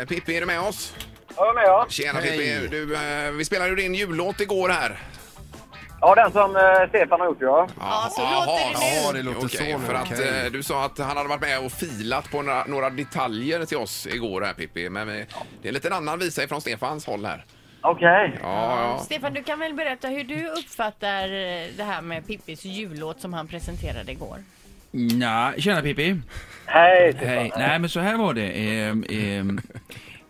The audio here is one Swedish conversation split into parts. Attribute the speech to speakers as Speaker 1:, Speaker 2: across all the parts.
Speaker 1: Eh, Pippi, är du med oss?
Speaker 2: Ja, jag är med ja.
Speaker 1: Tjena
Speaker 3: Hej.
Speaker 1: Pippi! Du, eh, vi spelade ju din jullåt igår här.
Speaker 2: Ja, den som eh, Stefan har gjort ja.
Speaker 1: Ja,
Speaker 4: så låter det nu.
Speaker 1: så-
Speaker 3: Ja, det låter
Speaker 1: Okej,
Speaker 3: så nu,
Speaker 1: för att
Speaker 3: okej.
Speaker 1: eh, Du sa att han hade varit med och filat på några, några detaljer till oss igår här Pippi. Men vi, det är en liten annan visa ifrån Stefans håll här.
Speaker 2: Okej.
Speaker 1: Ja, ja.
Speaker 4: Stefan, du kan väl berätta hur du uppfattar eh, det här med Pippis jullåt som han presenterade igår?
Speaker 5: Nja, tjena Pippi.
Speaker 2: Hej Stefan.
Speaker 5: Hej. Nej men så här var det. Ehm, ehm,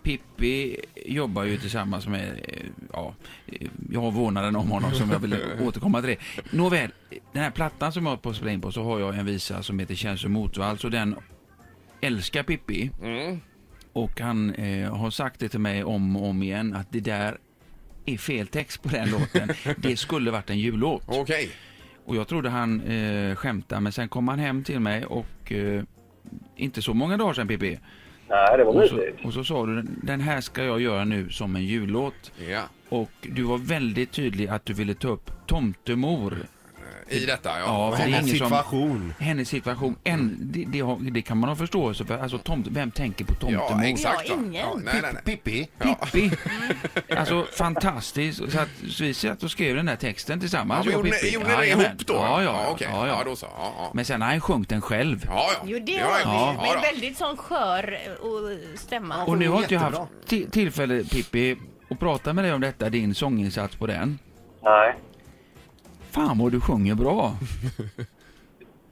Speaker 5: Pippi jobbar ju tillsammans med, eh, ja, eh, jag har vårdnaden om honom som jag vill återkomma till det. Nåväl, den här plattan som jag har på att spela in på så har jag en visa som heter Känns som motvalls och den älskar Pippi. Och han eh, har sagt det till mig om och om igen att det där är fel text på den låten. Det skulle varit en jullåt.
Speaker 1: Okej.
Speaker 5: Och jag trodde han eh, skämtade men sen kom han hem till mig och eh, inte så många dagar sedan Pippi.
Speaker 2: Nej, det var
Speaker 5: Och så,
Speaker 2: mysigt.
Speaker 5: och så sa du den här ska jag göra nu som en jullåt.
Speaker 1: Ja.
Speaker 5: Och du var väldigt tydlig att du ville ta upp tomtemor.
Speaker 1: I detta ja.
Speaker 5: Ja, för det är
Speaker 3: Hennes
Speaker 5: ingen som-
Speaker 3: situation.
Speaker 5: Hennes situation. En, det, det, har, det kan man ha förståelse för. Alltså, tomt, vem tänker på
Speaker 1: ja
Speaker 5: tomtemor?
Speaker 1: exakt.
Speaker 4: Ja,
Speaker 1: va?
Speaker 4: ingen.
Speaker 1: Ja, nej, nej, nej.
Speaker 3: Pippi.
Speaker 5: Pippi! Alltså fantastiskt. Så, att, så vi satt och skrev den här texten
Speaker 1: Ja,
Speaker 5: tillsammans.
Speaker 1: men
Speaker 5: jag och
Speaker 1: gjorde ni,
Speaker 5: Pippi.
Speaker 1: gjorde ni det
Speaker 5: Jajamän.
Speaker 1: ihop då?
Speaker 5: Ja, ja.
Speaker 1: okej.
Speaker 5: ja, ja.
Speaker 1: ja då så. Ja, ja.
Speaker 5: Men sen har han sjungit den själv.
Speaker 1: Ja, ja.
Speaker 4: Jo, det
Speaker 1: Ja,
Speaker 4: har vi.
Speaker 1: ja. Ja,
Speaker 4: Men
Speaker 1: då.
Speaker 4: väldigt sån skör eh, och stämma.
Speaker 5: Och nu har inte jag
Speaker 3: Jättebra.
Speaker 5: haft ti- tillfälle, Pippi, att prata med dig om detta, din sånginsats på den.
Speaker 2: Nej.
Speaker 5: Fan vad du sjunger bra!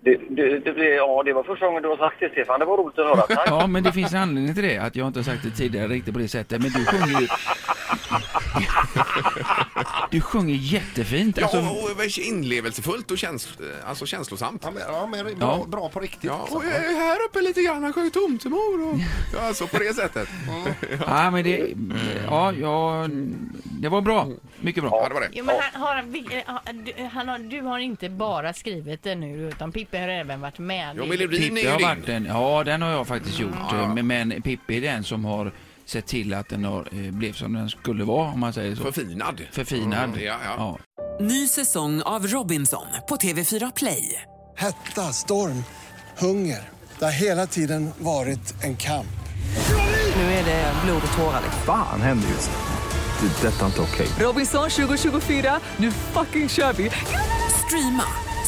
Speaker 2: Det, det, det, det, ja, det var första gången du har sagt det Stefan. Det var roligt att höra. Tack.
Speaker 5: Ja, men det finns en anledning till det, att jag inte har sagt det tidigare riktigt på det sättet, men du sjunger ju... Du sjunger jättefint!
Speaker 1: Ja,
Speaker 5: Alltså,
Speaker 1: och, och, och inlevelsefullt och käns, alltså känslosamt.
Speaker 3: Ja, men, ja, men bra,
Speaker 5: Ja.
Speaker 3: bra på riktigt.
Speaker 1: Ja,
Speaker 3: Så.
Speaker 1: och jag är här uppe lite grann, han sjöng tomtemor och... Ja, alltså på det sättet.
Speaker 5: ja, men det... Ja, ja, det var bra. Mycket bra.
Speaker 1: Ja, det var det.
Speaker 4: Jo, men han, har, vi- eh, har- du- han har, du har inte bara skrivit den nu, utan Pippi har även varit med.
Speaker 1: Jo,
Speaker 4: i-
Speaker 1: melodin
Speaker 5: Pippi har
Speaker 1: är ju
Speaker 5: varit
Speaker 1: din.
Speaker 5: den, ja den har jag faktiskt gjort. Men, men Pippi är den som har sett till att den har, eh, blev som den skulle vara om man säger så.
Speaker 1: Förfinad.
Speaker 5: Förfinad.
Speaker 1: Mm, ja, ja.
Speaker 6: Ny säsong av Robinson på TV4 Play.
Speaker 7: Hetta, storm, hunger. Det har hela tiden varit en kamp.
Speaker 6: Nu är det blod och tårar. liksom.
Speaker 8: Fan händer just nu. Det. är Detta är inte okej.
Speaker 6: Robinson 2024, nu fucking kör vi! Streama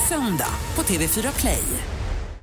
Speaker 6: söndag på TV4 Play.